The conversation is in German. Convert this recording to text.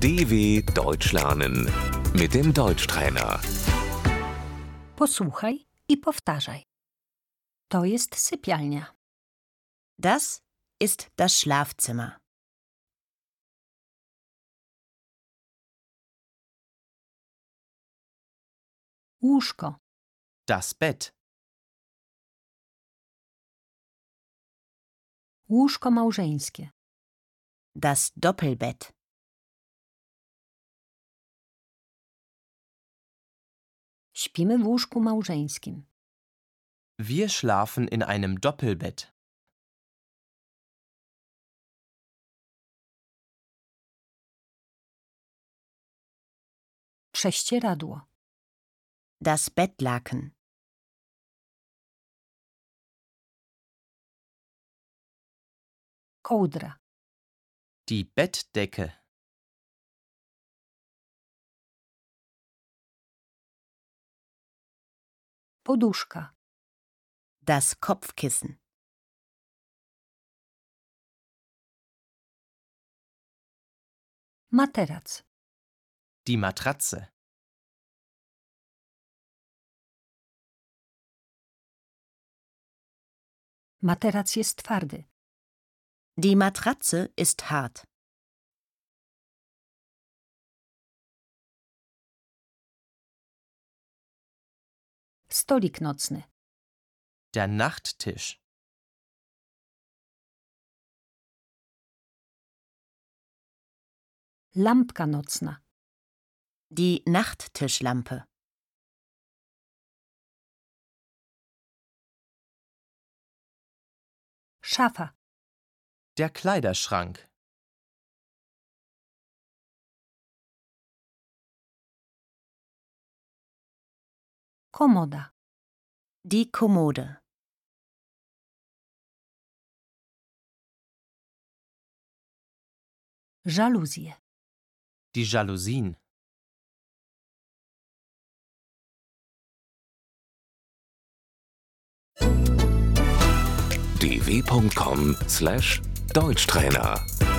DW Deutsch lernen mit dem Deutschtrainer. Posłuchaj i powtarzaj. To jest sypialnia. Das ist das Schlafzimmer. Łóżko, Das Bett, łóżko małżeńskie, Das Doppelbett. śpimy w łóżku małżeńskim, wir schlafen in einem Doppelbett. prześcieradło, Das Bettlaken. kołdra, Die Bettdecke, poduszka, Das Kopfkissen. materac, die Matratze, materac jest twardy, Die Matratze ist hart. stolik nocny, der Nachttisch, lampka nocna, Die Nachttischlampe. szafa, der Kleiderschrank, komoda, Die Kommode. żaluzje, die Jalousien, dw.com/deutschtrainer